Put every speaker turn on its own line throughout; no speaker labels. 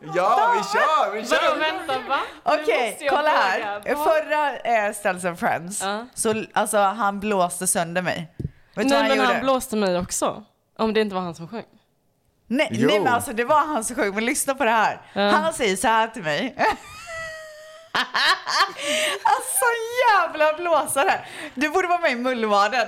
Ja, vi kör! Vi
Vadå,
kör!
vänta, va? Nu
Okej,
måste jag
kolla här.
fråga. Vad-
Förra eh, Ställs and Friends,
Ja.
så alltså, han blåste sönder mig. Vet du vad
Nej,
han
men
gjorde?
han blåste mig också. Om det inte var han som sjöng.
nej,
Jo.
nej, men alltså det var han som sjöng, men lyssna på det här. Han säger så här till mig. alltså jävla blåsare. Du borde vara med i Mullvaden.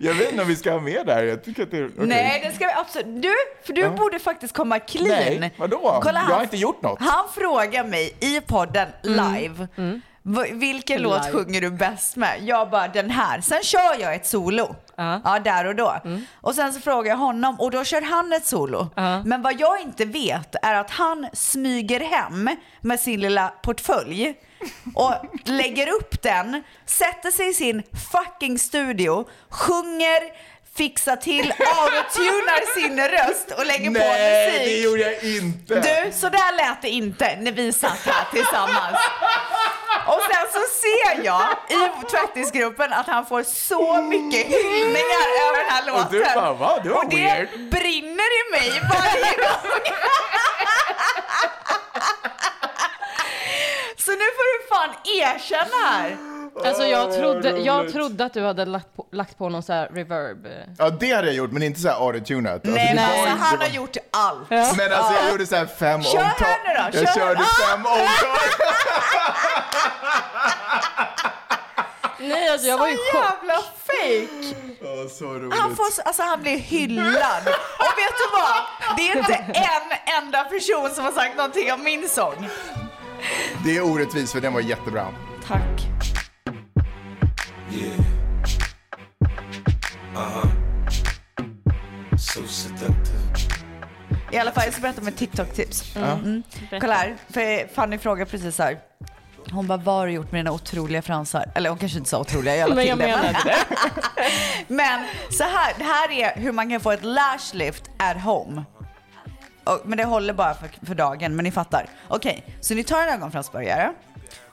Jag vet inte om vi ska ha med det här. Jag tycker att det är... okej.
Nej, det ska vi absolut. Du, för du borde faktiskt komma clean.
Nej, vadå?
Kolla,
jag
han-
har inte gjort något.
Han frågar mig i podden live. "V- Vilken
Mm. Live.
låt sjunger du bäst med? Jag bara den här. Sen kör jag ett solo.
Ja. Mm.
Ja, där och då. Och sen så frågar jag honom och då kör han ett solo.
Ja.
Men vad jag inte vet är att han smyger hem med sin lilla portfölj och lägger upp den, sätter sig i sin fucking studio, sjunger, fixar till, autotunar sin röst och lägger på
Nej,
musik.
det gjorde jag inte!
Du, så där lät det inte när vi satt här tillsammans. Och sen så ser jag i tvättisgruppen att han får så mycket hyllningar över den här låten.
Och du bara, va? Det var
Och det
weird.
brinner i mig varje gång. Så nu får du fan erkänna här.
Alltså jag
vad
trodde, jag
roligt.
trodde att du hade lagt på, lagt på någon så här reverb.
Ja, det hade jag gjort, men inte så här autotunat.
Nej, men
det var
alltså,
inte-
han
det
har
var-
gjort allt.
Men alltså jag gjorde så här fem
Kör
omtag.
här nu då,
Jag
kör. Ah!
körde fem omtag.
Nej, alltså jag var ju i
Så
chock.
jävla fake.
Åh, så
Han,
roligt.
får, så- alltså, han blir hyllad. Och vet du vad? Det är inte en enda person som har sagt någonting om min sång.
Det är orättvist för den var jättebra.
Tack.
Yeah. Uh huh. So seductive.
I alla fall, jag ska berätta om ett TikTok-tips. Mm. Mm. Kolla här, för Fanny frågade precis här. Hon bara, vad har du gjort med dina otroliga fransar? Eller hon kanske inte sa otroliga, jag la
Men
till
jag
det.
menade det.
Men så här, det här är hur man kan få ett lash lift at home. Och, men det håller bara för, för dagen, men ni fattar. Okej, så ni tar en ögonfransbörjare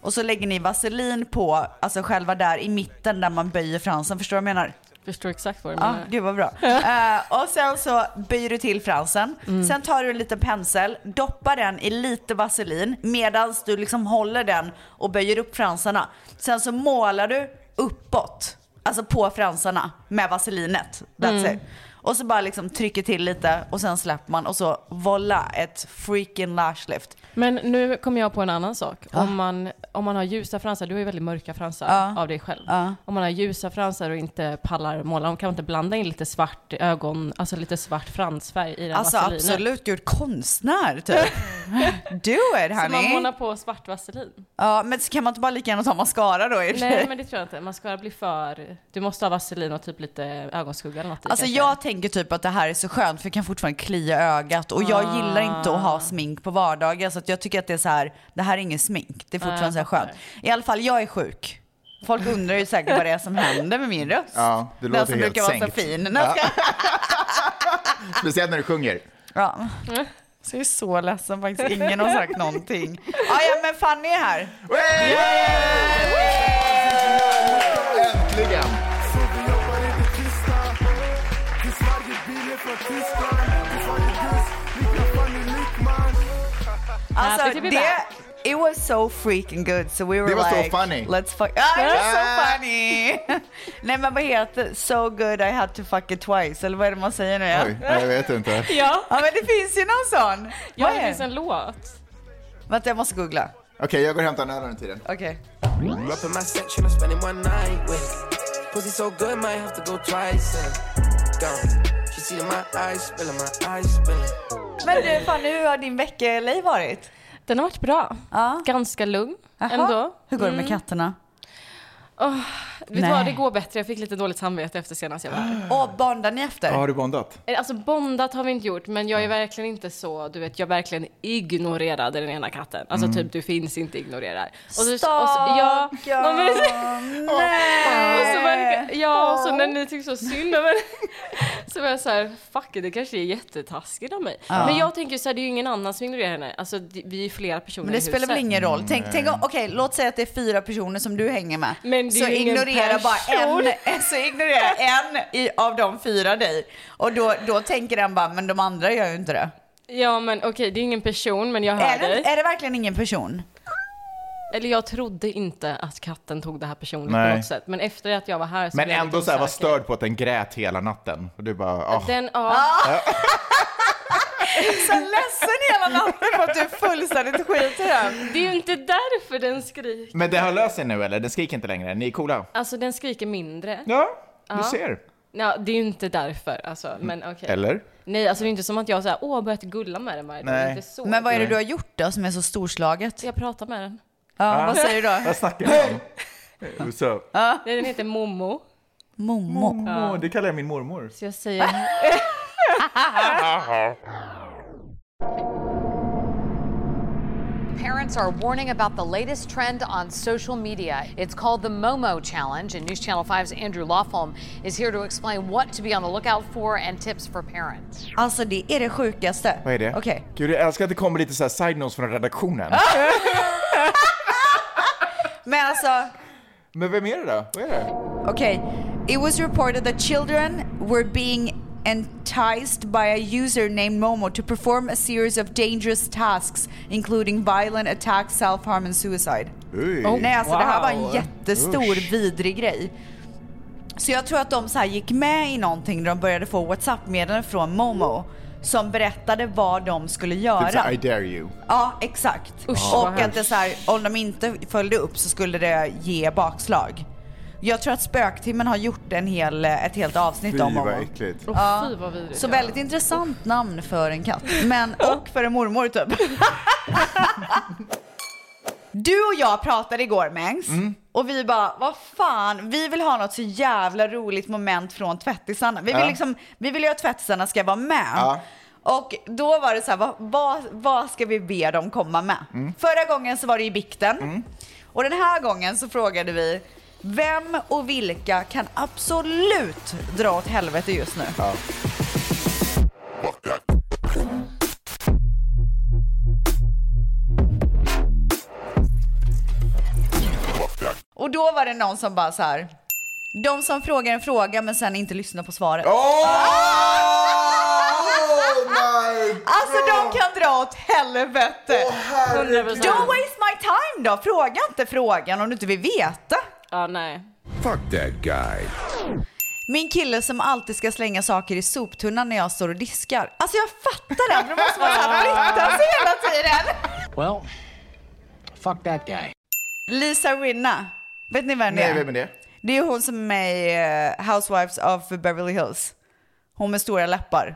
och så lägger ni vaselin på, alltså själva där i mitten där man böjer fransen. Förstår du vad jag menar?
Förstår exakt vad du
Ja,
menar.
gud vad bra. Eh, och sen så böjer du till fransen. Sen tar du en liten pensel, doppar den i lite vaselin medan du liksom håller den och böjer upp fransarna. Sen så målar du uppåt, alltså på fransarna med vaselinet. That's it. Och så bara liksom trycker till lite och sen släpper man och så voila ett freaking lash lift.
Men nu kom jag på en annan sak. Om, man, om man har ljusa fransar, du har ju väldigt mörka fransar av dig själv. Om man har ljusa fransar och inte pallar måla, om kan man inte blanda in lite svart ögon, alltså lite svart fransfärg i den
Alltså
vaselinen?
absolut, du är konstnär typ. Do it
Så man
honey.
målar på svart vaselin?
Ja, men så kan man inte bara lika gärna ta mascara då i och för sig?
Nej men det tror jag inte, man ska bli för... Du måste ha vaselin och typ lite ögonskugga eller något i,
Alltså
kanske.
jag tänker typ att det här är så skönt för jag kan fortfarande klia ögat och jag gillar inte att ha smink på vardagar så att jag tycker att det är så här, det här är ingen smink, det är fortfarande så här skönt. I alla fall jag är sjuk. Folk undrar ju säkert vad det är som händer med min röst.
Ja, det
Den
låter
som
helt
brukar vara så
sänkt.
fin. Den ska...
Speciellt när du sjunger.
ja. Så jag är så ledsen faktiskt, ingen har sagt någonting. Ja, ja men Fanny är här.
Äntligen!
Alltså
Happy to be
det,
back.
it was so freaking good so we were
Det var så
like
funny.
let's fuck, ah, it was so
Ah.
funny. Nej men vad heter so good I had to fuck it twice eller vad är det man säger nu?
Oj, jag vet inte.
Ja,
Ja men det finns ju någon sån.
ja
Vad
det
är
finns en låt.
Vänta jag måste googla.
Okej, jag går och hämtar en öl under tiden.
Okej.
I'm up in my section, I'm spending one night with. Pussy so good, might have to go twice. And gone. She see my eyes spilling, my eyes spilling.
Men du Fanny hur har din veckaliv varit?
Den har varit bra.
Ja.
Ganska lugn
Jaha.
ändå.
Hur går det
Mm.
med katterna?
Vet du
Nej.
vad, det går bättre. Jag fick lite dåligt samvete efter senast jag var här.
Åh bondar ni efter?
Har du bondat?
Alltså bondat har vi inte gjort, men jag är verkligen inte så, du vet, jag verkligen ignorerade den ena katten. Alltså typ, du finns inte, ignorerar. Och så, och så, ja, ja, men,
Nej. Eh,
och så verkar, ja, och så när ni tyckte så synd om henne, Så var jag så här, fuck it, det kanske är jättetaskigt av mig. Men jag tänker så här, det är ju ingen annan som ignorerar henne. Alltså det- vi är ju flera personer
Men det
i
spelar
huset.
väl ingen roll? Tänk, tänk om, okej, låt säga att det är fyra personer som du hänger med.
Men det är
så
ju ingen
ignorerar
person.
bara en, så ignorerar en i, av de fyra dig. Och då, då tänker den bara, men de andra gör ju inte det.
Ja men okej, det är ingen person men jag hör
Är
dig.
det, är det verkligen ingen person?
Eller jag trodde inte att katten tog det här personligt på
Nej.
något sätt. Men efter att jag var här så
Men
blev jag
ändå
lite
så här var
osäker.
störd på att den grät hela natten. Och du bara, ah.
Den, ja,
Så ledsen hela natten på att du fullständigt skiter i den.
det är ju inte därför den skriker.
Men det har löst sig nu eller? Den skriker inte längre? Ni är coola?
Alltså den skriker mindre.
Ja, du ser.
Ja, det är ju inte därför alltså. Men okej.
Eller?
Nej, alltså det är inte som att jag så här, åh, börjat gulla med den varje dag. Det är
Nej.
Inte så.
Men vad är det du har gjort då som är så storslaget?
Jag pratar med den.
Ja, vad säger du då?
Vad snackar du om? What's up?
Nej, den heter Momo.
Momo.
Åh, det kallar jag min mormor.
Så jag säger...
Parents are warning about the latest trend on social media. It's called the Momo Challenge, and News Channel 5's Andrew Lawholm is here to explain what to be on the lookout for and tips for parents.
Alltså det är det sjukaste.
Vad är det?
Okej.
Gud, jag älskar att det kommer lite så här side notes från redaktionen.
Men alltså,
Men vem är det då? Vad är det?
Okay, it was reported that children were being enticed by a user named Momo to perform a series of dangerous tasks, including violent attacks, self-harm and suicide.
Oj.
Nej, alltså det här var en
wow.
jättestor
Usch.
vidrig grej. Så jag tror att de så här gick med i någonting när de började få WhatsApp-meddelanden från Momo som berättade vad de skulle
Typ så
göra.
här, I dare you.
Ja, exakt.
Usch, vad
och
hemskt.
att det så här, om de inte följde upp så skulle det ge bakslag. Jag tror att spöktimmen har gjort en hel, ett helt avsnitt
Fy
om
vad
honom.
äckligt.
Åh, fy vad vidrigt.
Så väldigt intressant namn för en katt. Men, och för en mormor typ. Du och jag pratade igår Mengs.
Mm.
Och vi bara, vad fan, vi vill ha något så jävla roligt moment från tvättisarna. Vi vill,
Ja.
liksom, vi vill ju att tvättisarna ska vara med.
Ja.
Och då var det så här, vad, vad, vad ska vi be dem komma med?
Mm.
Förra gången så var det ju bikten. Och den här gången så frågade vi, vem och vilka kan absolut dra åt helvete just nu? Och då var det någon som bara så här. De som frågar en fråga men sen inte lyssnar på svaret.
Oh my
Alltså de kan dra åt helvete.
herregud.
Don't waste my time då. Fråga inte frågan om du inte vill veta.
Ja, nej.
Fuck that guy.
Min kille som alltid ska slänga saker i soptunnan när jag står och diskar. Alltså jag fattar det. men Det måste vara så här flytta sig hela tiden.
Well, fuck that guy.
Lisa Rinna. Vet ni vem det
Nej,
är?
vem är det?
Det är hon som är med i eh, Housewives of Beverly Hills. Hon med stora läppar.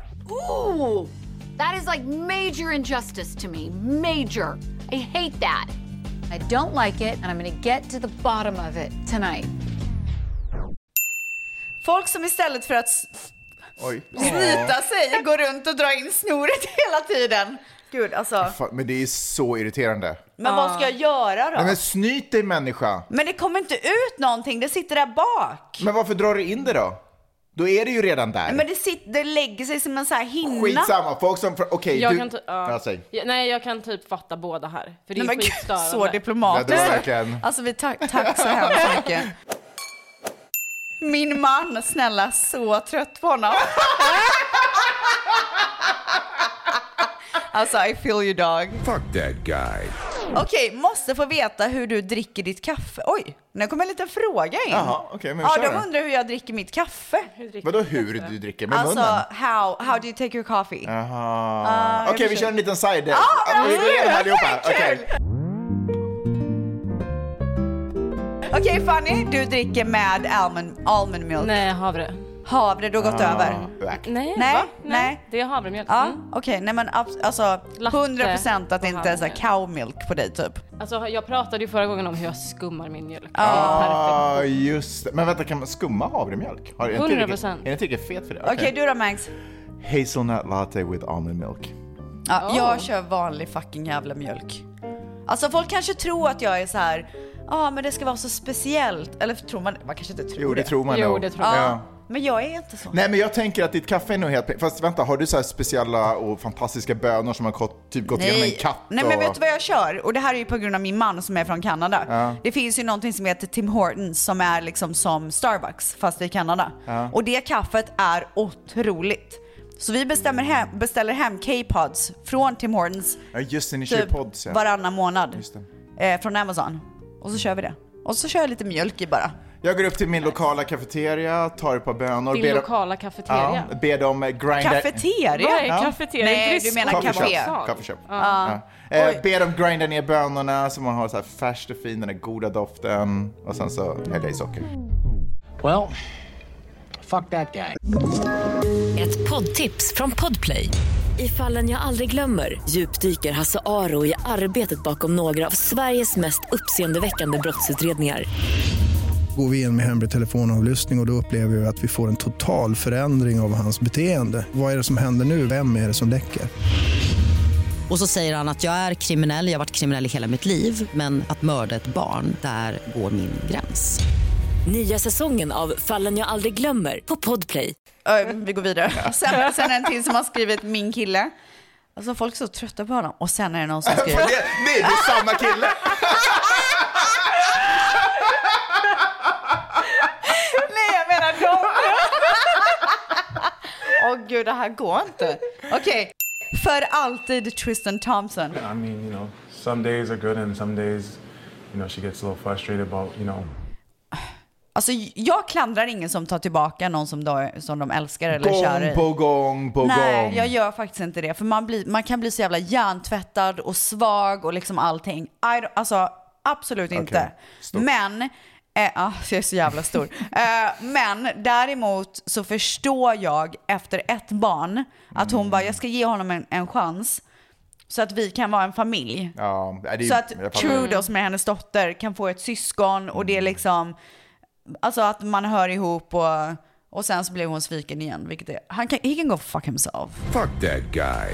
That is like major injustice to me. Major. I hate that.
I don't like it, and I'm going to get to the bottom of it tonight.
Folk som istället för att s-
Oj.
slita sig går runt och drar in snoret hela tiden. Gud alltså.
Fan, Men det är så irriterande.
Men vad ska jag göra då?
Nej, men snyt dig människa.
Men det kommer inte ut någonting, det sitter där bak.
Men varför drar du in det då? Då är det ju redan där.
Men det, sitter, det lägger sig som en så här hinna.
Skitsamma, folk som... Okej,
Jag
du...
kan ty- ja.
Ja, säg.
Ja, nej, jag kan typ fatta båda här. För det är
Nej, men, gud,
skitstörande.
så diplomatiskt.
Ja, det var verkligen-
Alltså vi tack, tack så hemskt mycket. Min man, snälla, så trött på honom. Alltså I feel you dog.
Fuck that guy.
Okej, måste få veta hur du dricker ditt kaffe. Oj, nu kommer en liten fråga in.
Jaha, okej, men
ja,
kör
de
då.
undrar hur jag dricker mitt kaffe.
Vadå hur du dricker? Med
Alltså,
munnen?
how, how do you take your coffee?
Jaha. Okej, vi
förstår.
kör en liten side.
men
vi går igenom
kul,
allihopa.
kul.
Okej.
Okej Fanny, du dricker med almond, almond milk.
Nej, havre.
Havre, du har
Ah.
gått över.
Back.
Nej,
Nej,
va?
nej.
Det är havremjölk.
Ja,
Mm.
okej. Nej men abs- alltså
Latte
100% att det
och
inte är så här
havre.
cow milk på dig typ.
Alltså, jag pratade ju förra gången om hur jag skummar min mjölk.
Ja, just det. Men vänta, kan man skumma havremjölk? Har- är inte
100%.
riktigt- Är den tillräckligt fet för det?
Okej, du då Mangs?
Hazelnut latte with almond milk.
Ja,
Oh.
Jag kör vanlig fucking jävla mjölk. Alltså folk kanske tror att jag är så här, ja ah, men det ska vara så speciellt. Eller tror man, man kanske inte tror
Jo, det tror man
Jo,
nog.
det tror
Ja.
jag.
Men jag är inte så.
Nej men jag tänker att ditt kaffe är nog helt plain. Fast vänta, har du så här speciella och fantastiska bönor som har gått, typ gått igenom en katt?
Nej men
och...
vet du vad jag kör? Och det här är ju på grund av min man som är från Kanada. Det finns ju någonting som heter Tim Hortons som är liksom som Starbucks fast i Kanada. Och det kaffet är otroligt. Så vi bestämmer hem, beställer hem K-pods från Tim Hortons
Ja just det, ni
Typ
kör ju pods ja.
varannan månad
Just
eh, från Amazon. Och så kör vi det. Och så kör jag lite mjölk i bara.
Jag går upp till min lokala kafeteria, tar ett par bönor.
Din
ber dem-
lokala
Ja,
kafeteria.
ber dem eh, grinda...
Kafeteria?
Vad är
Ja.
kafeteria?
Nej,
Inte det
du menar
skål-
kafé.
sal?
Coffee shop. Ja. Eh, ber dem grinda ner bönorna så man har så här färskt och fin, den där goda doften. Och sen så häller jag i socker.
Mm.
Well, fuck that guy.
Ett poddtips från Podplay. I fallen jag aldrig glömmer djupdyker Hasse Aro i arbetet bakom några av Sveriges mest uppseendeväckande brottsutredningar.
Går vi in med hemlig telefonavlyssning och, och då upplever vi att vi får en total förändring av hans beteende. Vad är det som händer nu? Vem är det som läcker?
Och så säger han att jag är kriminell, jag har varit kriminell i hela mitt liv men att mörda ett barn, där går min gräns.
Nya säsongen av Fallen jag aldrig glömmer på Podplay.
Ö, vi går vidare. Sen, sen en till som har skrivit min kille. Alltså folk är så trötta på honom. Och sen är det någon som
Det,
skriver.
det är samma kille!
Nej jag menar dem. Åh gud det här går inte. Okej. För alltid Tristan Thompson.
I mean, you know, some days are good and some days, you know, she gets a little frustrated about, you know.
Alltså jag klandrar ingen som tar tillbaka någon som, då, som de älskar eller kär i.
Gång på gång på
Nej,
gång.
jag gör faktiskt inte det. För man, blir, man kan bli så jävla hjärntvättad och svag och liksom allting. I don't, alltså, absolut inte.
stor.
Men, eh, ah, jag är så jävla stor. eh, men däremot så förstår jag efter ett barn att
Mm.
hon bara, jag ska ge honom en, en chans. Så att vi kan vara en familj.
Ja, det är ju-
Så att
jag fattar.
True då, som är hennes dotter, kan få ett syskon och
Mm.
det är liksom, alltså att man hör ihop och, och sen så blir hon sviken igen, vilket är, han kan, he can go fuck himself.
Fuck that guy.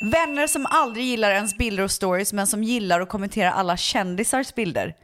Vänner som aldrig gillar ens bilder och stories men som gillar och kommenterar alla kändisars bilder.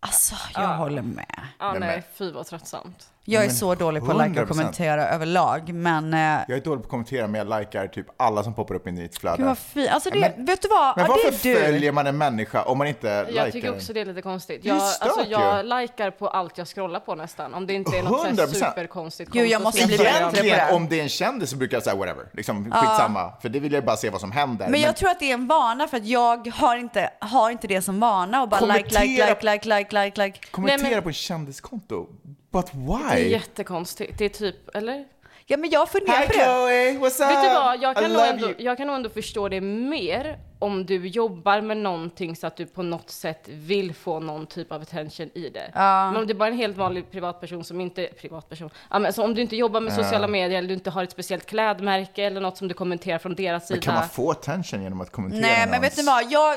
Alltså, jag
Ah.
håller med.
Ja,
Nej,
nej,
men-
fy vad tröttsamt.
Jag är så dålig på att like
100%.
och kommentera överlag, men... eh,
Jag är dålig på att kommentera men jag likar typ alla som poppar upp i mitt flöde.
Gud vad fint. Alltså det,
Ja, men-
vet du vad?
Men
ja, det
varför
är du.
följer man en människa om man inte likar
Jag tycker också det är lite konstigt.
Det är
Jag,
stört
alltså,
ju.
jag likar på allt jag scrollar på nästan. Om det inte är något så här
100%.
superkonstigt
Gud, jag
konto
måste
så
bli
följer jag
bättre på
inte.
det.
Egentligen om det är en kändis så brukar jag säga whatever, liksom skitsamma. För det vill jag bara se vad som händer.
Men jag tror att det är en vana för att jag har inte, har inte det som vana och bara like, like,
Kommentera-
like, like, like, like, like.
kommentera
Nej, men-
på en kändiskonto, but
Det är
why?
jättekonstigt. Det är typ, eller?
Ja men jag funderar
Hi
på det.
Chloe, what's up?
Vet du vad, jag
Ah, I
kan, nog
love
ändå,
you.
jag kan nog ändå förstå det mer om du jobbar med någonting så att du på något sätt vill få någon typ av attention i det. Men om du bara är en helt vanlig privatperson som inte, privatperson, ja, men, så om du inte jobbar med sociala medier eller du inte har ett speciellt klädmärke eller något som du kommenterar från deras
Men
sida.
kan man få attention genom att kommentera
Nej men
någons-
vet ni vad, jag,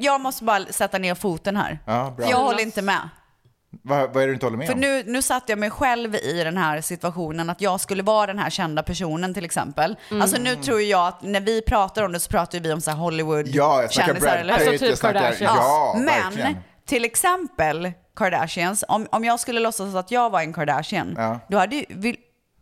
jag måste bara sätta ner foten här.
Ja, bra.
jag håller inte med.
Vad, vad är det du inte håller med
För
om?
nu, nu satte jag mig själv i den här situationen att jag skulle vara den här kända personen till exempel.
Mm.
Alltså nu tror jag att när vi pratar om det så pratar ju vi om så här Hollywood
Ja, jag snackar
kändisar
Brad Pitt,
eller
Alltså typ
jag snackar...
Kardashian.
Ja,
Men
verkligen.
till exempel Kardashians, om, om jag skulle låtsas att jag var en Kardashian,
Ja.
då hade ju, vill,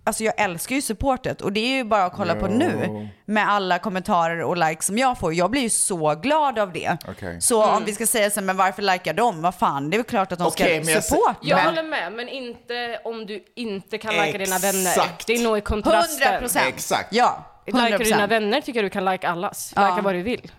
alltså jag älskar ju supportet och det är ju bara att kolla på
Jo.
nu med alla kommentarer och likes som jag får. Jag blir ju så glad av det.
Okej.
Så
Mm.
om vi ska säga så här, men varför likar de? Vad fan, det är väl klart att de
Okej, men
ska
jag se-
supporta.
Jag håller med, men inte om du inte kan likea dina vänner.
Exakt.
Det är nog i kontrasten.
100 procent.
Exakt.
Ja, 100
Likar du dina
procent.
vänner tycker jag du kan like allas. Lika vad du vill.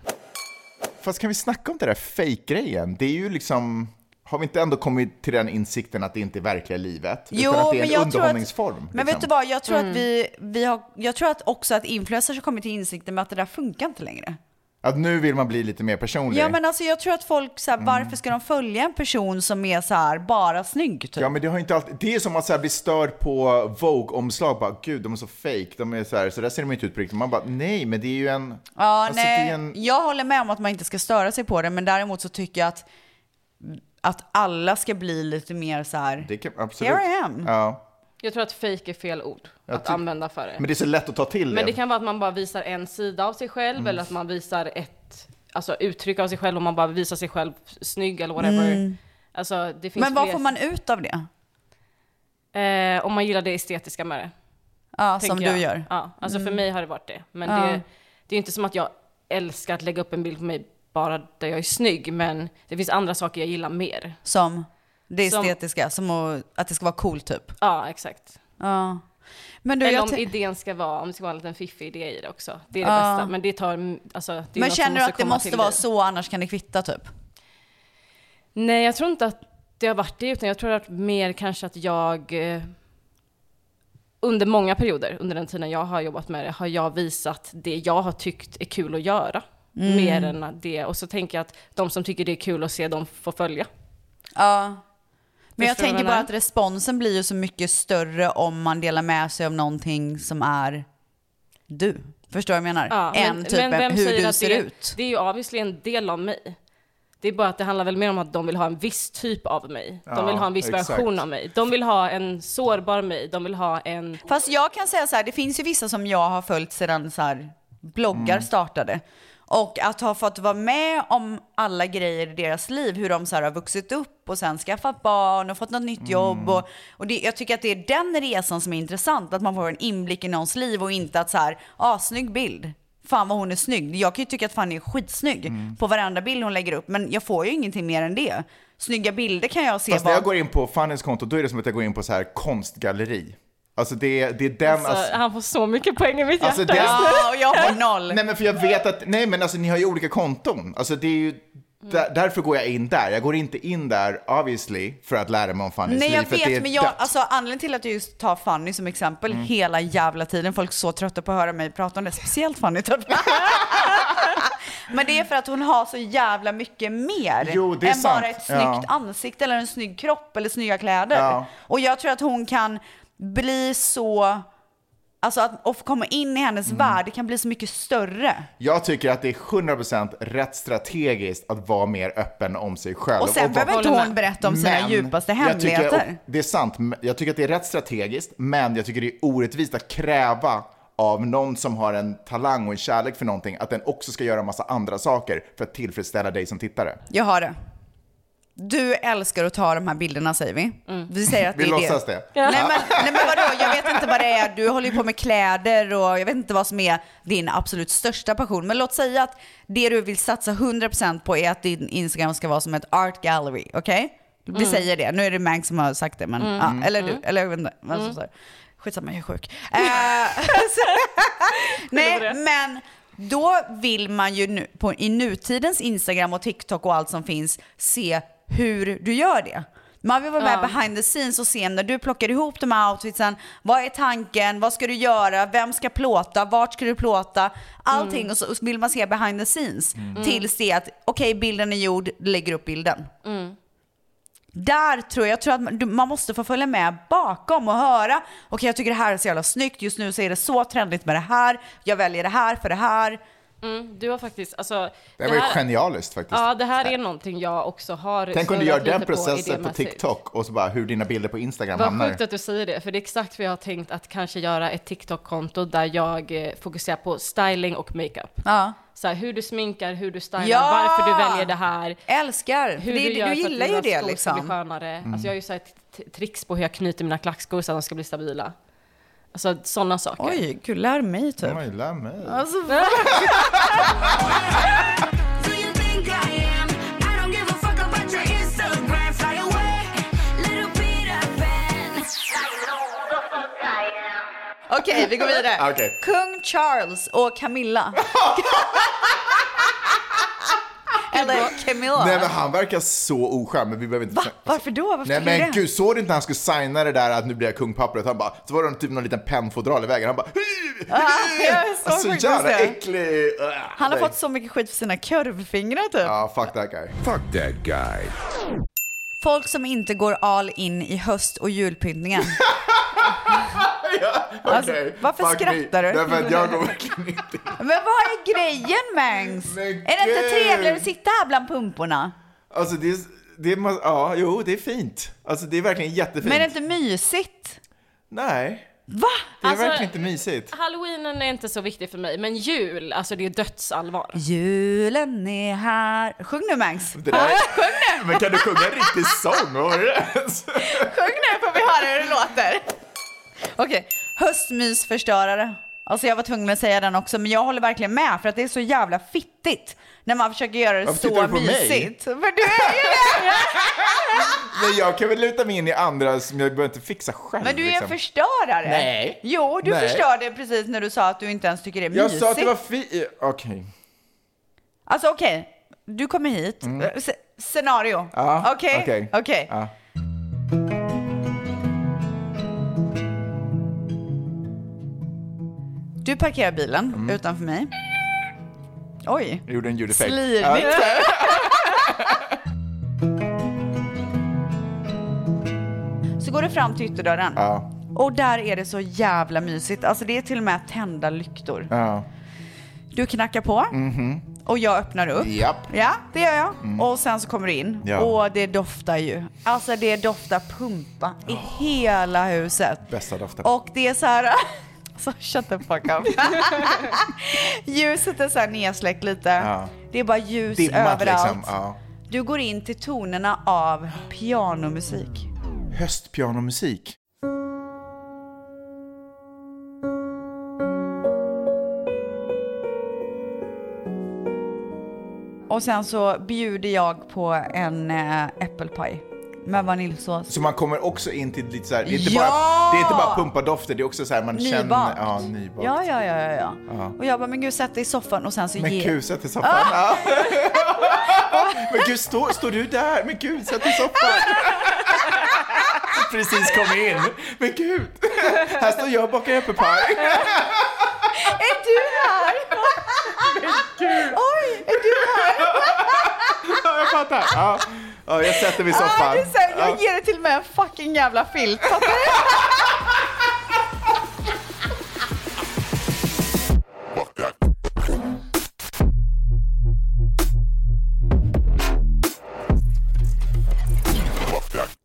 Fast kan vi snacka om det där fake-grejen? Det är ju liksom... Har vi inte ändå kommit till den insikten att det inte är verkliga livet? utan att det är en underhållningsform? liksom.
Tror att, men vet du vad, jag tror
Mm.
att vi, vi har, jag tror att också att influencers har kommit till insikten med att det där funkar inte längre.
Att nu vill man bli lite mer personlig.
Ja men alltså jag tror att folk så här,
Mm.
varför ska de följa en person som är så här bara snygg typ?
Ja men det har ju inte alltid, det är som att så här bli störd på Vogue-omslag, bara gud de är så fake, de är så här, så där ser de inte ut på riktigt. Man bara nej men det är ju en...
Ja,
alltså,
nej,
Det är en
Jag håller med om att man inte ska störa sig på det men däremot så tycker jag att, att alla ska bli lite mer så här.
det kan, absolut.
Here I am.
Ja.
Jag tror att fake är fel ord att
tyck-
använda för det.
Men det Mm. är så lätt att ta till
Men det kan vara att man bara visar en sida av sig själv eller att man visar ett alltså, uttryck av sig själv och man bara visar sig själv snygg eller whatever. Alltså, det finns
Mm. Men vad
fler-
får man ut av det?
Eh, om man gillar det estetiska med det.
Ja,
tänker
som
jag.
du gör.
Ja, alltså för
Mm.
mig har det varit det. Men
Ja.
det, det är ju inte som att jag älskar att lägga upp en bild på mig bara där jag är snygg, men det finns andra saker jag gillar mer.
Som det
Som-
estetiska, som, att, att det ska vara coolt typ.
Ja, exakt.
Ja. Men du,
Eller
jag
om
tän-
idén ska vara, om det ska vara en liten fiffig idé i det också. Det är det
Ja.
bästa, men det tar, mm, alltså, det är
men
något som
känner du att det
komma
måste
till
vara
dig.
så, annars kan det kvitta typ?
Nej, jag tror inte att det har varit det, utan jag tror att mer kanske att jag eh, under många perioder, under den tiden jag har jobbat med det, har jag visat det jag har tyckt är kul att göra.
Mm.
Mer än att det, och så tänker jag att de som tycker det är kul att se, de får följa.
Ja.
Förstår du
Men jag
vad
tänker
jag
bara
menar?
att responsen blir ju så mycket större om man delar med sig av någonting som är du. Förstår du vad jag menar?
Ja,
Än
men-
typ
men vem
hur
säger
du
att
ser
det,
ut.
Det är ju obviously en del av mig. Det är bara att det handlar väl mer om att de vill ha en viss typ av mig. De
Ja,
vill ha en viss
exakt.
version av mig. De vill ha en sårbar mig. De vill ha en...
Fast jag kan säga så här, det finns ju vissa som jag har följt sedan så här, bloggar
Mm.
startade. Och att ha fått vara med om alla grejer i deras liv, hur de så här, har vuxit upp och sen skaffat barn och fått något nytt
Mm.
jobb. Och, och det, jag tycker att det är den resan som är intressant, att man får en inblick i någons liv och inte att så här, ah, snygg bild. Fan vad hon är snygg. Jag kan ju tycka att Fanny är skitsnygg
Mm.
på varenda bild hon lägger upp, men jag får ju ingenting mer än det. Snygga bilder kan jag se
Fast när
bara-
jag går in på Fannys konto, då är det som att jag går in på så här konstgalleri. Alltså det, det är den...
Alltså, han får så mycket poäng i mitt
Alltså,
hjärta
det-
just nu.
Ja,
och jag har noll.
Nej men för jag vet att, nej men alltså ni har ju olika konton. Alltså det är ju,
Mm.
där, därför går jag in där. Jag går inte in där obviously för att lära mig om Fannys
Nej
liv.
jag
för att det är
vet men jag,
dött.
alltså, anledningen till att jag just tar Fanny som exempel
Mm.
hela jävla tiden, folk är så trötta på att höra mig prata om det, speciellt Fanny typ. men det är för att hon har så jävla mycket mer
Jo, det är
än
sant.
bara ett snyggt
Ja.
ansikte eller en snygg kropp eller snygga kläder.
Ja.
Och jag tror att hon kan bli så, alltså att och komma in i
Mm.
hennes värld kan bli så mycket större.
Jag tycker att det är 100% rätt strategiskt att vara mer öppen om sig själv.
Och sen
vara-
behöver inte hon berätta om sina djupaste
jag tycker-
hemligheter.
och det är sant, men jag tycker att det är rätt strategiskt, men jag tycker det är orättvist att kräva av någon som har en talang och en kärlek för någonting, att den också ska göra en massa andra saker för att tillfredsställa dig som tittare.
Jag har det. Du älskar att ta de här bilderna säger vi.
Mm.
Vi säger att
Vi
det är
låtsas det.
Nej, men, nej men vadå, jag vet inte vad det är. Du håller ju på med kläder och jag vet inte vad som är din absolut största passion. Men låt säga att det du vill satsa 100% på är att din Instagram ska vara som ett art gallery, okej? Vi
Mm.
säger det. Nu är det Mang som har sagt det, men
Mm.
ja, eller du,
Mm.
eller jag vet inte. vad som
Mm.
står. Skitsamma, jag är sjuk. Eh, nej, men då vill man ju nu, på, i nutidens Instagram och TikTok och allt som finns se hur du gör det. Man vill vara med
Ja.
behind the scenes och se när du plockar ihop de här outfitsen. Vad är tanken? Vad ska du göra? Vem ska plåta? Vart ska du plåta? Allting.
Mm.
Och så och så vill man se behind the scenes
Mm.
tills det är att okej, bilden är gjord, lägger upp bilden.
Mm.
Där tror jag, jag tror att man- du- man måste få följa med bakom och höra. Okej, jag tycker det här är så jävla snyggt. Just nu så är det så trendigt med det här. Jag väljer det här för det här.
Mm, du har faktiskt, alltså...
Det var ju genialiskt faktiskt.
Ja, det här är någonting jag också har
Tänk om du
snurrat
gör den
lite
processen på,
idémässigt.
TikTok och så bara hur dina bilder på Instagram
Vad
hamnar.
sjukt att du säger det, för det är exakt vad jag har tänkt att kanske göra ett TikTok-konto där jag eh, fokuserar på styling och makeup.
Ja.
Så här, hur du sminkar, hur du stylar,
Ja!
varför du väljer det här.
Älskar!
Hur
Det-
du,
du
gör för
gillar
att dina
ju det,
skor ska bli
liksom.
skönare.
Mm.
Alltså jag har ju så här t- tricks på hur jag knyter mina klackskor så att de ska bli stabila. Alltså sådana saker.
Oj, gud lär mig typ.
Oj, lär mig.
Alltså, Okej, vi går vidare.
Okej.
Kung Charles och Camilla. Eller Camilla.
Nej men han verkar så oskön, men vi behöver inte... Va?
Varför då? Varför
Nej
tycker du
men
det?
gud, såg du inte när han skulle signa det där att nu blir jag kungpappret? Han bara, så var det typ någon liten pennfodral i vägen. Han bara,
Ah, jag är så
alltså
sjukt
jävla
lustig.
äcklig. Äh,
Han
nej.
har fått så mycket skit för sina kurvfingrar typ.
Ja, fuck that guy.
Fuck that guy.
Folk som inte går all in i höst och julpyntningen. Alltså,
Okej,
varför
fuck
skrattar
me.
du?
Därför att jag går verkligen
Men vad är grejen Mangs? Är det inte
gud.
trevligare att sitta här bland pumporna?
Alltså det är, det är, mas- ja, jo det är fint. Alltså det är verkligen jättefint.
Men är det inte mysigt?
Nej.
Va?
Det är
Alltså-
verkligen inte mysigt.
Halloweenen är inte så viktig för mig, men jul, alltså det är dödsallvar.
Julen är här. Sjung nu Mangs.
Det där... Sjung Men kan du sjunga en riktig sång? Vad var det?
Sjung nu får vi höra hur det låter. Okej, höstmysförstörare. Alltså jag var tvungen att säga den också, men jag håller verkligen med för att det är så jävla fittigt när man försöker göra det
Varför tittar
så
du på mig?
mysigt. För du är ju det!
Men jag kan väl luta mig in i andra som jag behöver inte fixa själv.
Men du är en
liksom.
förstörare.
Nej.
Jo, du
Nej.
förstörde precis när du sa att du inte ens tycker det är
Jag
mysigt.
sa att det var fi... eh, Okej.
Alltså okej, du kommer hit.
Mm.
Eh, sc- Scenario.
Ja,
Okej?
okej.
Okej.
Ja.
Du parkerar bilen
Mm.
utanför mig. Oj.
Jag gjorde en ljudeffekt.
Slirigt. Så går du fram till ytterdörren.
Ja.
Och där är det så jävla mysigt. Alltså det är till och med tända lyktor.
Ja.
Du knackar på
Mhm.
och jag öppnar upp.
Japp.
Ja, det gör jag. Och sen så kommer du in.
Mm. Ja.
Och det doftar ju. Alltså det doftar pumpa i hela huset.
Bästa doften.
Och det är så här... Så shut the fuck up. Ljuset är så här nedsläckt lite.
Ja.
Det är bara ljus
Dimmat
överallt.
liksom. Ja.
Du går in till tonerna av pianomusik.
Höstpianomusik.
Och sen så bjuder jag på en äh, äppelpaj med vaniljsås.
Så man kommer också in till lite så här, det är inte,
Ja!
bara, det är inte bara pumpadofter, det är också så här man känner...
Nybakt.
Ja, nybakt.
Ja, ja, ja, ja, ja.
Ja.
Och jag bara, men gud sätt dig i soffan och sen så
Men
ge... Ah.
gud, sätt dig i soffan. Ja. Men gud, står, står du där? Men gud, sätt dig i soffan. Precis kom in. Men gud, här står jag och bakar äppelpaj.
Är du här? Oj, är du här?
Ja, jag fattar. Ja. Ja, jag sätter mig i soffan.
Ah, det är så här,
Ja.
jag ger det till och med en fucking jävla filt. fattar du?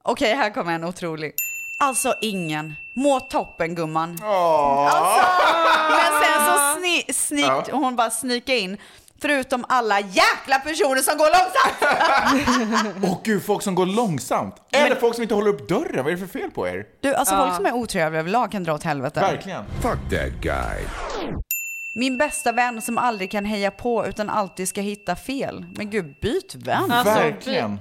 Okej, här kommer en otrolig. Alltså ingen. Må toppen gumman. Alltså, men sen så sni, snyggt,
Ja.
hon bara snika in. Förutom alla jäkla personer som går långsamt.
Åh gud, folk som går långsamt. Eller folk som inte håller upp dörren. Vad är det för fel på er?
Du, alltså
Ja.
folk som är otrevliga överlag kan dra åt helvete.
Verkligen.
Fuck that guy.
Min bästa vän som aldrig kan heja på utan alltid ska hitta fel. Men gud, byt vän.
Alltså, By,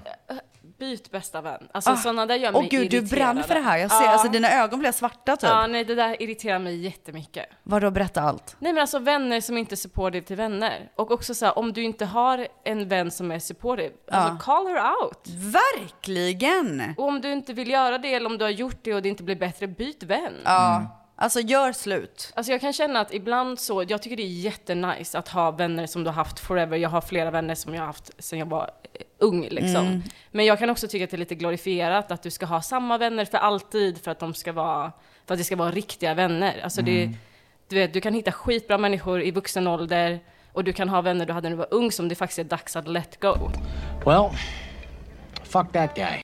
byt bästa vän. Alltså
Ah.
sådana där gör mig
Åh gud, du
irriterad.
brann för det här. Jag ser,
Ja.
alltså dina ögon blev svarta typ.
Ja, nej det där irriterar mig jättemycket.
Vadå, berätta allt.
Nej men alltså vänner som inte är supportive till vänner. Och också så här, om du inte har en vän som är supportive,
Ja.
alltså call her out.
Mm. Verkligen!
Och om du inte vill göra det eller om du har gjort det och det inte blir bättre, byt vän.
Ja, alltså gör slut.
Alltså jag kan känna att ibland så, jag tycker det är jättenice att ha vänner som du har haft forever. Jag har flera vänner som jag har haft sedan jag var eh, ung liksom.
Mm.
Men jag kan också tycka att det är lite glorifierat att du ska ha samma vänner för alltid för att de ska vara, för att det ska vara riktiga vänner. Alltså det,
Mm.
du vet, du kan hitta skitbra människor i vuxen ålder och du kan ha vänner du hade när du var ung som det faktiskt är dags att let go.
Well, fuck that guy.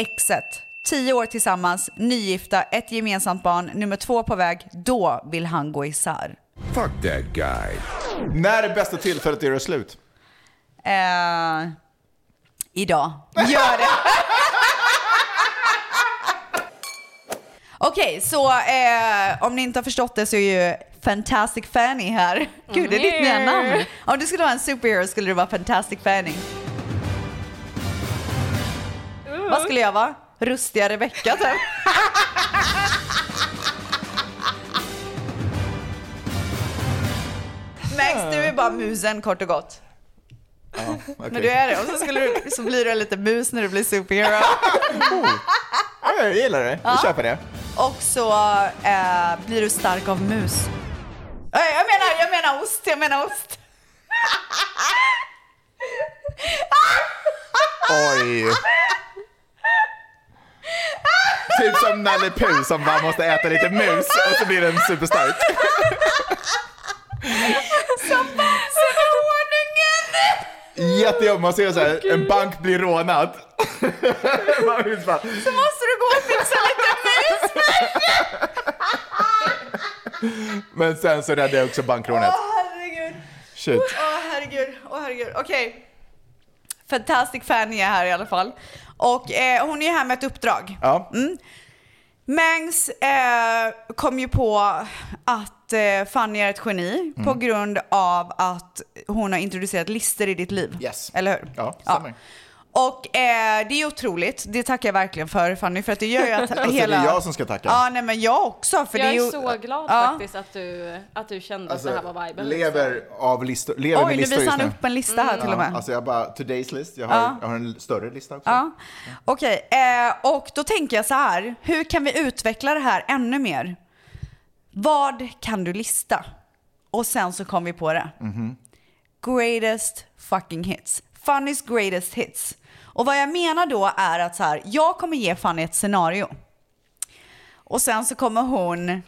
Exet. Tio år tillsammans, nygifta, ett gemensamt barn, nummer två på väg. Då vill han gå isär.
Fuck that guy.
När är bästa tillfället att göra slut?
Eh, idag. Gör det! Okej, så eh, om ni inte har förstått det så är ju Fantastic Fanny här. Gud, det är ditt nya namn. Om du skulle vara en superhero skulle du vara Fantastic Fanny. Vad skulle jag vara? Rustiga Rebecka typ. Max, du är bara musen kort och gott.
Ja, okej.
Men du är det. Och så, skulle du, så blir du lite mus när du blir superhero.
Ja, jag gillar det. Jag
Ja.
köper det.
Och så eh, blir du stark av mus. Nej, jag menar, jag menar ost, jag menar ost.
Oj. Typ som Nalle Puh som bara måste äta lite mus och så blir den superstark.
Som bamsen och honungen!
Jättejobbigt, man ser så här, en bank blir rånad. Man vill bara,
Så måste du gå och fixa lite mus först.
Men sen så räddade jag också
Åh
bankrånet.
herregud.
Shit.
Åh herregud. Åh herregud. Okej. Fantastic Fanny är här i alla fall. Och eh, hon är här med ett uppdrag.
Ja.
Mm. Mangs eh, kom ju på att eh, Fanny är ett geni
Mm.
på grund av att hon har introducerat lister i ditt liv.
Yes.
Eller hur?
Ja,
stämmer. Och eh, det är otroligt. Det tackar jag verkligen för Fanny för att det gör ju att
Alltså, det är
hela...
jag som ska tacka.
Ja, nej men jag också. För
jag
det
är,
ju...
så glad
Ja.
faktiskt att du, att du kände att det här var viben.
Alltså,
liksom.
lever av listor. Lever
Oj,
med
nu
listor
visar
just
han upp en lista här
Mm.
till och med.
Ja, alltså jag bara, today's list. Jag har,
Ja.
jag har en större lista också.
Ja, okej. Eh, och då tänker jag så här. Hur kan vi utveckla det här ännu mer? Vad kan du lista? Och sen så kom vi på det.
Mhm.
Greatest fucking hits. Fannys greatest hits. Och vad jag menar då är att så här, jag kommer ge Fanny ett scenario. Och sen så kommer hon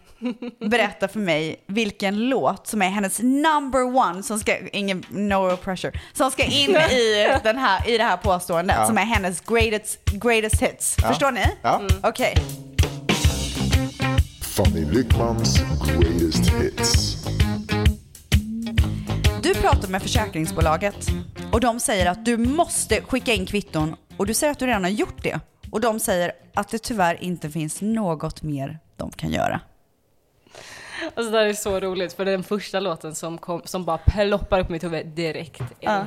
berätta för mig vilken låt som är hennes number one som ska, ingen, no pressure, som ska in i, den här, i det här påståendet
Ja.
som är hennes greatest, greatest hits.
Ja.
Förstår ni?
Ja. Mm.
Okej.
Fanny Lyckmans greatest hits.
Du pratar med försäkringsbolaget och de säger att du måste skicka in kvitton och du säger att du redan har gjort det. Och de säger att det tyvärr inte finns något mer de kan göra.
Alltså det här är så roligt för den första låten som, kom, som bara ploppar upp i mitt huvud direkt är den här.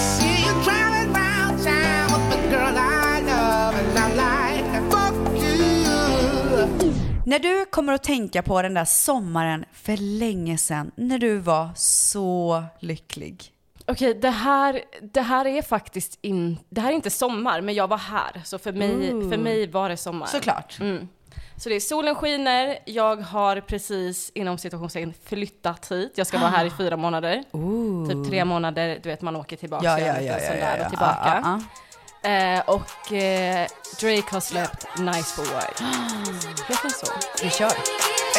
See you driving round town with the girl I love and I'm like, fuck you.
När du kommer att tänka på den där sommaren för länge sedan, när du var så lycklig.
Okej, det, här, det här är faktiskt in, det här är inte sommar, men jag var här. Så för mig,
Ooh.
för mig var det sommar.
Såklart.
Mm. Så det är solen skiner, jag har precis inom situationstecken flyttat hit. Jag ska vara här i fyra månader. Typ tre månader, du vet man åker tillbaka.
Ja,
och
ja,
lite
ja, ja,
sån
ja,
där
ja.
Och tillbaka.
Ah,
Eh, och eh, Drake har släppt Nice for Word. Heter den så?
Vi kör.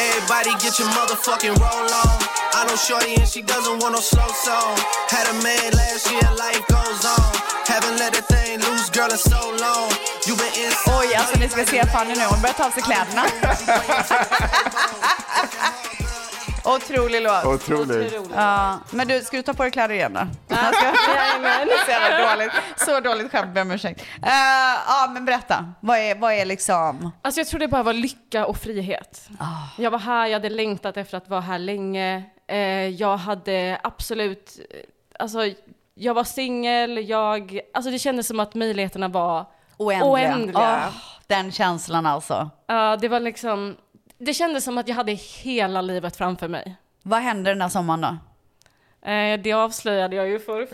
Everybody get your motherfucking roll on. I know Shorty and she doesn't want no slow song. Had a man last year, life goes on. Haven't let that thing loose, girl, in so long. You been inside.
Oj, alltså ni ska se Fanny nu, hon börjar ta av sig kläderna. Otrolig låt.
Otrolig.
Ja, men du, ska du ta på dig kläder igen då?
Jajamän.
Så jävla dåligt. Så dåligt skämt, ber om ursäkt. Eh, ja, men berätta. Vad är, vad är liksom...
Alltså jag tror det bara var lycka och frihet. Jag var här, jag hade längtat efter att vara här länge. Eh, jag hade absolut, eh, alltså jag var singel, jag, alltså det kändes som att möjligheterna var
Oändliga.
oändliga.
Åh, den känslan alltså.
Ja, det var liksom, det kändes som att jag hade hela livet framför mig.
Vad hände den här sommaren då?
Eh, det avslöjade jag ju förr.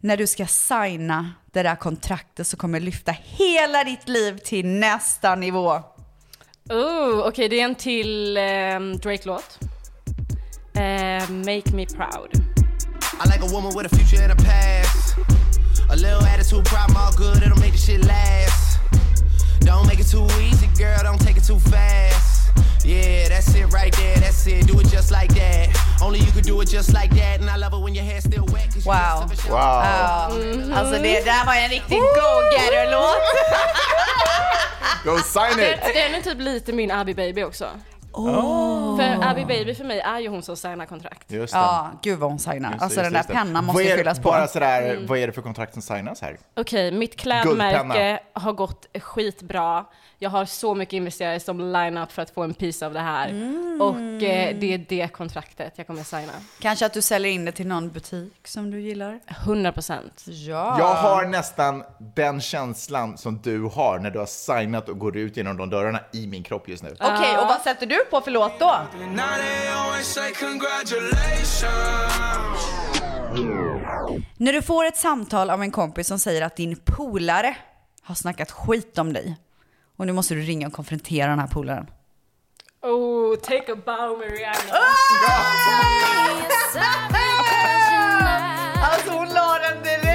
När du ska signa det där kontraktet så kommer lyfta hela ditt liv till nästa nivå.
Oh, Okej, det är en till ehm, Drake-låt. Eh, Make me proud.
I like a woman with a future and a past. A little attitude problem, all good, it'll make the shit last. Don't make it too easy, girl, don't take it too fast. Yeah, that's it right there, that's it, do it just like that. Only you could do it just like that, and I love it when your hair's still wet. Cause
Wow.
You just
Wow.
Ja, Alltså det där var en riktig go-getter-låt.
Go sign
Den,
it!
den är typ lite min Abby Baby också.
Oh.
För Abby Baby för mig är ju hon som signar kontrakt.
Just det.
Ja, gud vad hon signar.
Just det,
Alltså
just
den
det,
där
just det.
pennan
Vad
måste
är-
ju fyllas på.
Bara sådär,
Mm.
vad är det för kontrakt som signas här?
Okej, mitt
Guldpenna.
klädmärke har gått skitbra. Jag har så mycket investerare som line up för att få en piece av det här. Och eh, det är det kontraktet jag kommer signa.
Kanske att du säljer in det till någon butik som du gillar?
100 procent.
Ja.
Jag har nästan den känslan som du har när du har signat och går ut genom de dörrarna i min kropp just nu.
Okej, och vad sätter du på för låt då?
Now they always say congratulations.
När du får ett samtal av en kompis som säger att din polare har snackat skit om dig och nu måste du ringa och konfrontera den här polaren.
Oh, take a bow med Rihanna.
Ah,
Alltså hon la den direkt!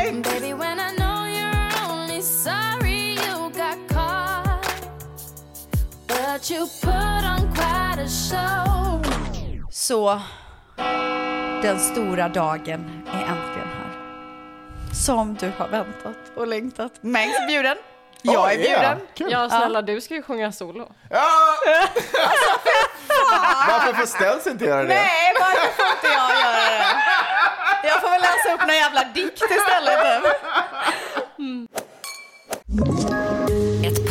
Så den stora dagen är äntligen här. Som du har väntat och längtat. Mangs bjuden. Jag
Oh,
är bjuden.
Ja, snälla du ska ju sjunga solo.
Varför får ställs inte göra det?
Alltså, Nej, varför får inte jag göra det? Jag får väl läsa upp någon jävla dikt istället. typ.
Ett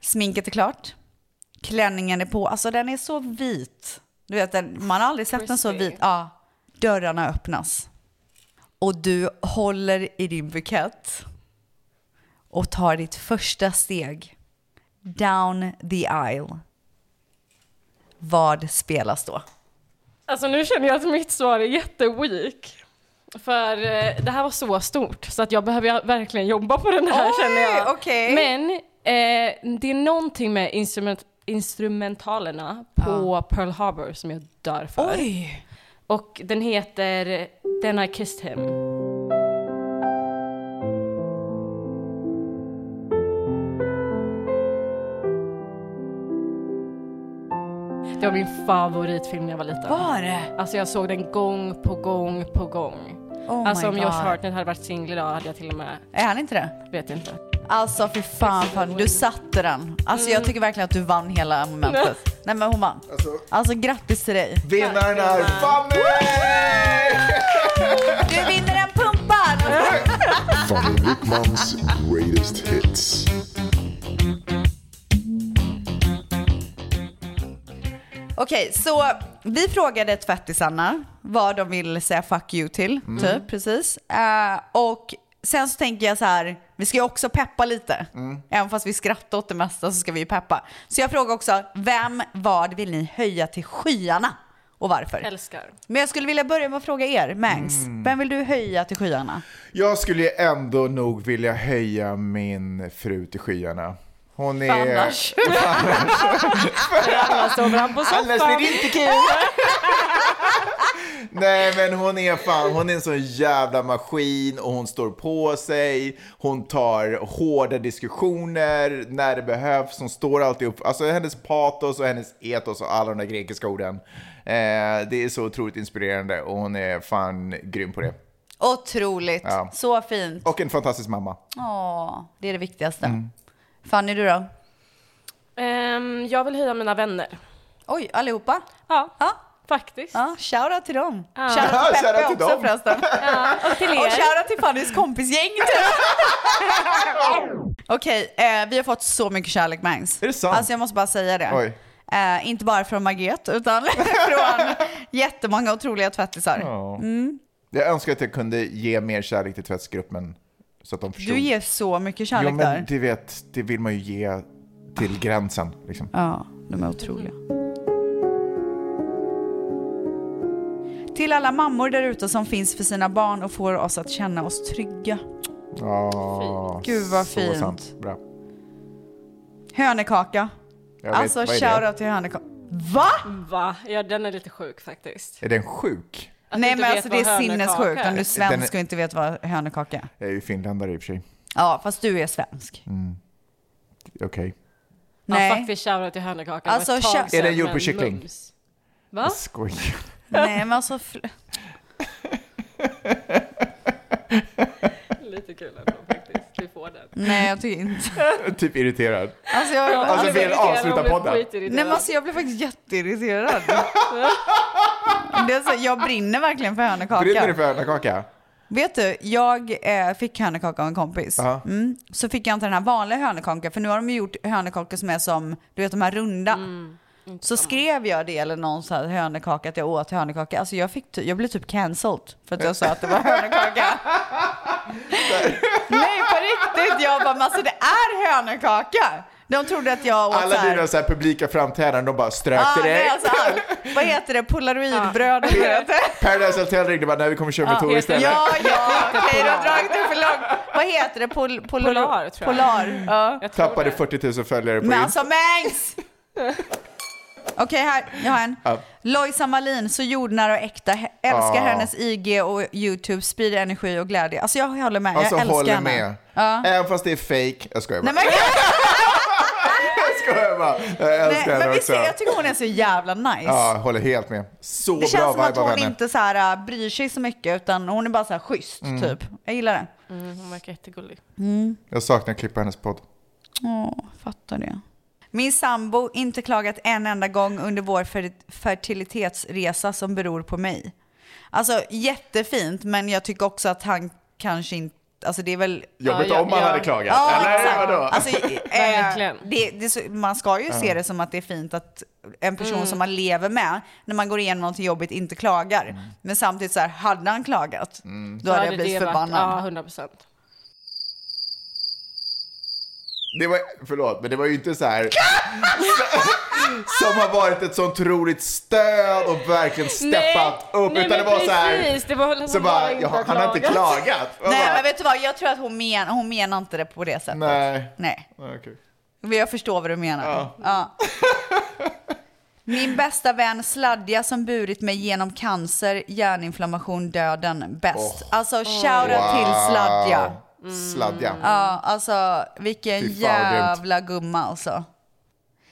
sminket är klart. Klänningen är på. Alltså den är så vit. Du vet, den, man har aldrig sett den så
Crispy.
vit. Ja. Dörrarna öppnas. Och du håller i din bukett och tar ditt första steg down the aisle. Vad spelas då?
Alltså nu känner jag att mitt svar är jätteweak. För eh, det här var så stort så att jag behöver ju verkligen jobba på den här
Oj,
känner jag.
okej.
Men eh, det är någonting med instrument, instrumentalerna på Pearl Harbor som jag dör för.
Oj.
Och den heter Then I Kissed Him. Det var min favoritfilm när jag var liten.
Var det?
Alltså jag såg den gång på gång på gång.
Oh
alltså
my
om
God.
Josh Hartnett hade varit singel idag hade jag till och med,
Är han inte det?
vet inte.
Alltså fy fan, fan du satte den. Alltså jag tycker verkligen att du vann hela momentet. Nej men hon vann. Alltså, grattis till dig.
Vinnaren är Fanny!
Du vinner en pumpad!
Fanny Wickmans greatest hits.
Okej, så vi frågade tvättisarna vad de vill säga fuck you till,
Mm.
typ precis. Eh, och sen så tänker jag så här, vi ska ju också peppa lite.
Mm.
Även fast vi skrattar åt det mesta så ska vi ju peppa. Så jag frågar också, vem, vad vill ni höja till skyarna? Och varför?
Älskar.
Men jag skulle vilja börja med att fråga er, Mangs.
Mm.
Vem vill du höja till skyarna?
Jag skulle ju ändå nog vilja höja min fru till skyarna. Hon är...
Annars.
Annars sover han på soffan.
Annars blir det inte kul. Nej men hon är fan, hon är en sån jävla maskin och hon står på sig. Hon tar hårda diskussioner när det behövs. Hon står alltid upp. Alltså hennes patos och hennes etos och alla de där grekiska orden. Eh, det är så otroligt inspirerande och hon är fan grym på det.
Otroligt,
Ja.
så fint.
Och en fantastisk mamma.
Åh, det är det viktigaste.
Mm.
Fanny, du då?
Ehm, jag vill höja mina vänner.
Oj, allihopa?
Ja, faktiskt.
Ja, shoutout till dem.
Ja.
Shoutout
Ja, shoutout
till Peppe
till
också
dem.
förresten.
Ja, och till er.
Och shoutout till Fannys kompisgäng. typ. Okej, eh, vi har fått så mycket kärlek Mangs. Är det sant? Alltså jag måste bara säga det.
Oj.
Eh, inte bara från Margret utan från jättemånga otroliga tvättisar.
Ja.
Mm.
Jag önskar att jag kunde ge mer kärlek till tvättgruppen så att de förstod.
Du ger så mycket kärlek
jo, men
där.
du vet, det vill man ju ge till gränsen. Liksom.
Ja, de är otroliga. Till alla mammor där ute som finns för sina barn och får oss att känna oss trygga.
Ja,
Gud, vad
så
Ah, fint.
sant. Bra.
Hönekaka.
Jag vet,
alltså
vad är det?
shoutout till hönekaka. Va?
Va? Ja, den är lite sjuk faktiskt.
Är den sjuk?
Att du
Nej
inte
men
vet
alltså det
vad
är
hönekaka
sinnessjukt om du är
Den
svensk
är-
och inte vet vad hönekaka är.
Jag är ju finländare i och för sig.
Ja fast du är svensk.
Mm. Okej.
Ja,
Nej.
faktiskt shoutout till hönekakan. Det
Alltså,
var ett tag
shou- Är
sedan,
den gjord på
men
kyckling?
mums. Va?
Jag skojar.
Nej men alltså. fl-
Lite kul ändå faktiskt. Du får den.
Nej jag tycker inte.
typ irriterad.
Alltså jag,
Ja,
Alltså,
hon
vi
blev
avslutar
irriterad, hon blev
podden.
skitirriterad.
Nej men alltså jag blev faktiskt jätteirriterad. det är så, jag brinner verkligen för
Brinner du
hönekaka.
för hönökaka?
Vet du, jag eh, fick hönekaka av en kompis.
Ja.
Mm. Så fick jag inte den här vanliga hönekakan för nu har de ju gjort hönekakor som är som, du vet de här runda. Så skrev jag det eller någon så här hönekaka att jag åt hönekaka. Alltså jag, fick ty- jag blev typ cancelled för att jag sa att det var hönekaka. Nej på riktigt, jag bara men alltså det är hönekaka. De trodde att jag åt
Alla
så här-
dina så här publika framträdanden, de bara strök
Ja, det är
direkt.
alltså allt. Vad heter det? Polaroidbröd? eller vad heter det?
Paradise Hotel ringde bara, nej vi kommer köra
Ah,
med Tor istället.
Ja, ja, okej, du har dragit det för långt. Vad heter det? Pol, pol,
Polar, tror jag.
Polar. Ja.
Tappade 40 000 följare på
Men
Insta.
alltså mängs! Okej, här. Jag har en.
Ja.
Lojsa Malin, så jordnära och äkta. He- Älskar
Ja.
hennes IG och YouTube. Sprider energi och glädje. Alltså jag håller med.
Alltså
jag älskar
håller
henne.
med.
Ja.
Även fast det är fake. Jag skojar bara.
Nej, men,
Jag skojar bara. Jag
nej,
älskar
men
henne
visst,
också.
jag tycker hon är så jävla nice.
Ja, håller helt med. Så
det
bra
känns som att
vibe av
hon
henne.
inte så här, äh, bryr sig så mycket utan hon är bara så här schysst
Mm.
typ. Jag gillar det.
Mm, hon verkar jättegullig.
Jag saknar att klippa hennes podd.
Åh, fattar det. Min sambo inte klagat en enda gång under vår fer- fertilitetsresa som beror på mig. Alltså jättefint, men jag tycker också att han kanske inte... Alltså det är väl...
Jobbigt om man hade klagat.
Ja,
Eller
exakt.
vadå?
Alltså, eh, det, det, är så- man ska ju
Ja.
se det som att det är fint att en person
Mm.
som man lever med, när man går igenom någonting jobbigt, inte klagar.
Mm.
Men samtidigt så här, hade han klagat, då hade jag blivit förbannad.
Ja, 100 procent.
Det var, förlåt, men det var ju inte så här. som har varit ett sånt otroligt stöd och verkligen steppat upp. utan det var så här.
det var
Så bara, ja, han har inte klagat. Jag
Nej,
bara,
men vet du vad? Jag tror att hon, men, hon menar inte det på det sättet.
Nej.
Nej.
Okej.
Men Jag förstår vad du menar.
Ja.
Ja. Min bästa vän Sladja som burit mig genom cancer, hjärninflammation, döden. Bäst.
Åh.
Alltså shoutout till
Wow.
Sladja. Mm.
Sladja.
Ja, alltså vilken
Fy fan, vad grymt.
jävla gumma alltså.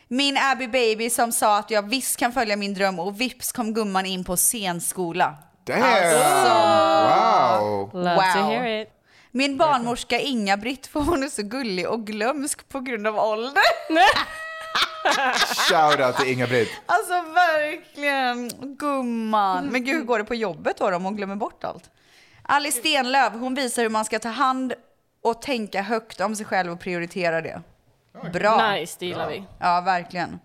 Min Abby Baby som sa att jag visst kan följa min dröm och vips kom gumman in på scenskola.
Damn! Wow!
Love to hear it.
Min barnmorska Inga-Britt, för hon är så gullig och glömsk på grund av ålder.
Shoutout till Inga-Britt.
Alltså verkligen, gumman. Men gud, hur går det på jobbet då om hon glömmer bort allt? Alice Stenlöf, hon visar hur man ska ta hand och tänka högt om sig själv och prioritera det. Bra.
Nice, det gillar vi.
Ja, verkligen.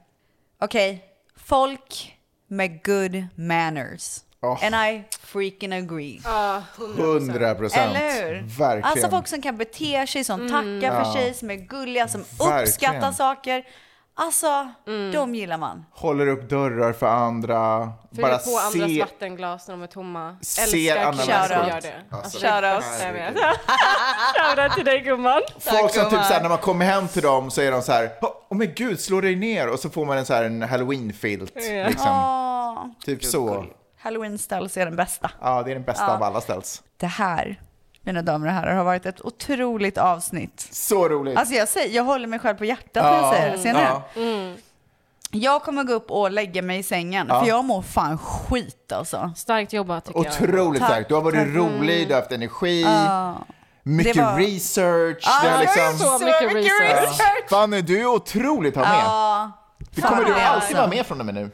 Okej, folk med good manners.
Oh.
And I freaking agree.
Ja,
100 procent.
Eller hur?
Verkligen.
Alltså folk som kan bete sig,
Mm.
som tackar för
Ja.
sig, som är gulliga, som
Verkligen.
uppskattar saker. Alltså,
Mm.
de gillar man.
Håller upp dörrar för andra.
Fyller
bara
på andras
se.
vattenglas när de är tomma.
se
Älskar
andra
killar som
människor.
gör det.
Alltså,
det är
Shoutout.
bästa jag vet. Shoutout till dig gumman.
Folk som typ såhär, när man kommer hem till dem så är de så här, åh men gud, slå dig ner. Och så får man en så här en halloween-filt.
Ja. Ah.
Liksom.
Åh.
Typ så.
Halloween Styles är den bästa.
Ja, det är den bästa
Ja.
av alla ställs.
Det här, mina damer och herrar, har varit ett otroligt avsnitt.
Så roligt.
Alltså jag, säger, jag håller mig själv på hjärtat när
Ja.
jag säger det. Ser ni
Ja.
det? Jag kommer gå upp och lägga mig i sängen,
Ja.
för jag mår fan skit alltså.
Starkt jobbat tycker
Otroligt
Tack.
starkt. Du har varit
Tack.
rolig, du har haft energi.
Ja.
Mycket
Det var-
research.
Ja,
det har
det var
liksom...
så mycket Så mycket research. research.
Fanny, du är otroligt att ha med.
Ja.
Det kommer
fan,
du
det
alltid
alltså.
vara med från och med nu.
jag.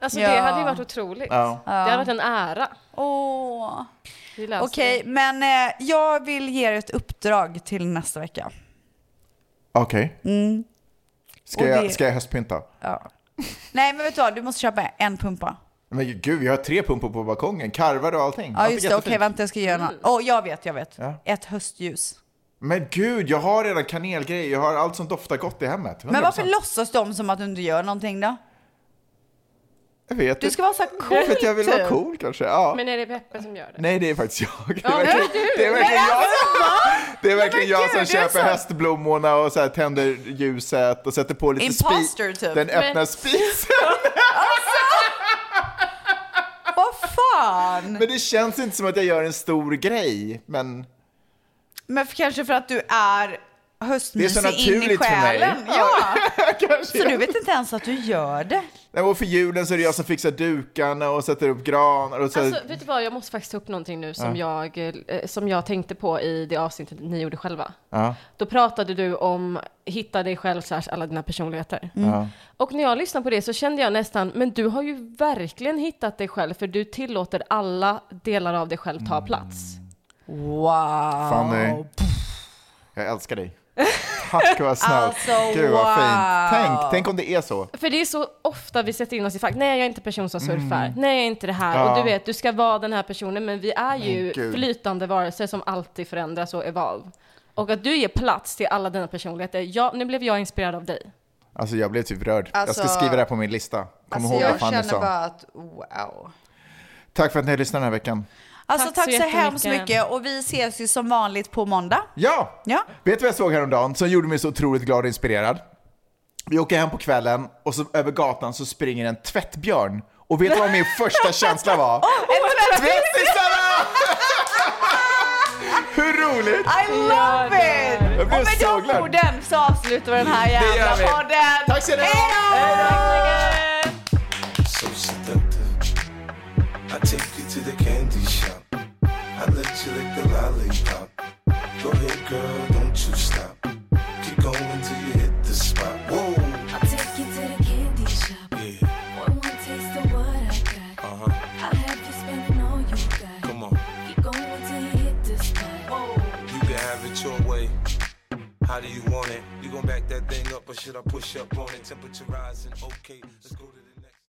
Alltså det
Ja.
hade ju varit otroligt.
Ja.
Det hade varit en ära.
Åh.
Vi löser
Okej,
det.
men eh, jag vill ge er ett uppdrag till nästa vecka.
Okej.
Mm.
Ska,
Och
jag,
det-
ska jag höstpynta?
Ja. Nej, men vet du vad? Du måste köpa en pumpa.
Men gud, jag har tre pumpor på balkongen. Karvar och allting.
Ja,
Allt är
just det. Okej,
jättefint.
vänta, jag ska göra
Mm.
något. Åh, jag vet, jag vet.
Ja.
Ett höstljus.
Men gud, jag har redan kanelgrejer. Jag har allt som doftar gott i hemmet. 100%.
Men varför låtsas de som att du inte gör någonting då?
Jag vet
Du
inte.
ska vara så här cool.
För att jag vill vara
typ.
cool kanske. Ja.
Men är det Peppe som gör det?
Nej, det är faktiskt jag. Det
Ja,
är
men
verkligen,
du-
det är verkligen
men
jag,
alltså,
det är verkligen jag
gud,
som
det är
köper
så-
hästblommorna och så här tänder ljuset och sätter på lite
Imposter,
spis.
typ.
Den
Men-
öppna spisen.
Vad fan!
Men det känns inte som att jag gör en stor grej. Men
Men för, kanske för att du är höstmysig
Det är så
in i
naturligt för mig.
själen. Ja. så du vet inte ens att du gör det?
Nej, och för julen så är det jag som fixar dukarna och sätter upp granar och så.
Alltså, vet du vad, jag måste faktiskt ta upp någonting nu som, jag, eh, som jag tänkte på i det avsnittet ni gjorde själva.
ja.
Då pratade du om hitta dig själv slash alla dina personligheter.
Ja.
Och när jag lyssnade på det så kände jag nästan, men du har ju verkligen hittat dig själv för du tillåter alla delar av dig själv
Mm.
ta plats.
Wow.
Fanny. Jag älskar dig. Tack vad snällt.
Alltså,
Gud vad fint.
wow.
Tänk, tänk om det är så.
För det är så ofta vi sätter in oss i fack, nej jag är inte person som surfar,
Mm.
nej jag är inte det här.
Ja.
Och du vet, du ska vara den här personen, men vi är ju
Men gud.
flytande varelser som alltid förändras och evolve. Och att du ger plats till alla dina personligheter, ja, nu blev jag inspirerad av dig.
Alltså jag blev typ rörd.
Alltså-
jag ska skriva det här på min lista. Kom
Alltså
ihåg vad
jag
Fanny
känner
sa.
bara att wow.
Tack för att ni lyssnade den här veckan.
Alltså tack,
Tack så
så, hemskt
jättemycket.
mycket och vi ses ju som vanligt på måndag.
Ja! Vet du vad jag såg häromdagen som gjorde mig så otroligt glad och inspirerad? Vi åker hem på kvällen och så över gatan så springer en tvättbjörn. Och vet du vad min första känsla var?
Oh,
Ett
Hur roligt!
I love it!
Jag blev
och med
så
de
glad.
orden så avslutar vi den här
Det gör vi.
jävla podden.
Tack ska ni ha.
Hej då!
So seductive. I take you to the candy shop. I let you lick the lollipop. Go ahead, girl, don't you stop. Keep going till you hit the spot. Whoa.
I'll take you to the candy shop.
Yeah.
One more taste of what I got.
Uh huh.
I'll have you spending all you got.
Come on.
Keep going till you hit the spot.
You can have it your way. How do you want it? You gon' back that thing up, or should I push up on it? Temperature rising. Okay, let's go to the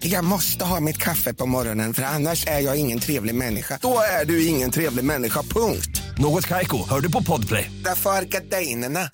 Jag måste ha mitt kaffe på morgonen för annars är jag ingen trevlig människa. Då är du ingen trevlig människa, punkt.
Något Kaiko, hör du på podplay.
Därför är gardinerna.